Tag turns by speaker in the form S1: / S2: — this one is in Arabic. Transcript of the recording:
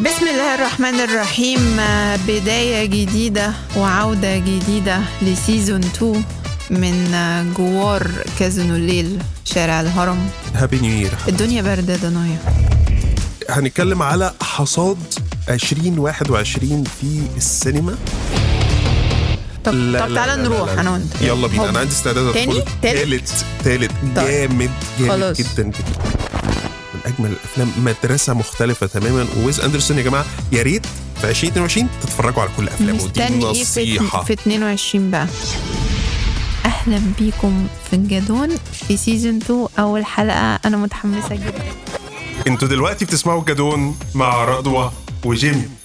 S1: بسم الله الرحمن الرحيم بداية جديدة وعودة جديدة لسيزون 2 من جوار كازينو الليل شارع الهرم
S2: هابي نيو يير
S1: الدنيا باردة دنايا
S2: هنتكلم على حصاد 2021 في السينما
S1: طب
S2: لا،
S1: طب
S2: لا،
S1: تعالى
S2: لا، لا،
S1: نروح
S2: لا.
S1: انا وانت
S2: يلا بينا
S1: هوب.
S2: انا عندي استعداد
S1: تاني؟
S2: أدخل.
S1: تالت؟
S2: تالت تالت
S1: طيب.
S2: جامد جامد
S1: خلاص.
S2: جدا جدا من اجمل الافلام مدرسه مختلفه تماما وويز اندرسون يا جماعه يا ريت في 2022 تتفرجوا على كل افلامه دي
S1: مستني ايه في
S2: نصيحه
S1: في 22 بقى اهلا بيكم في الجدون في سيزون 2 اول حلقة انا متحمسة جدا
S2: انتوا دلوقتي بتسمعوا الجدون مع رضوى وجيمي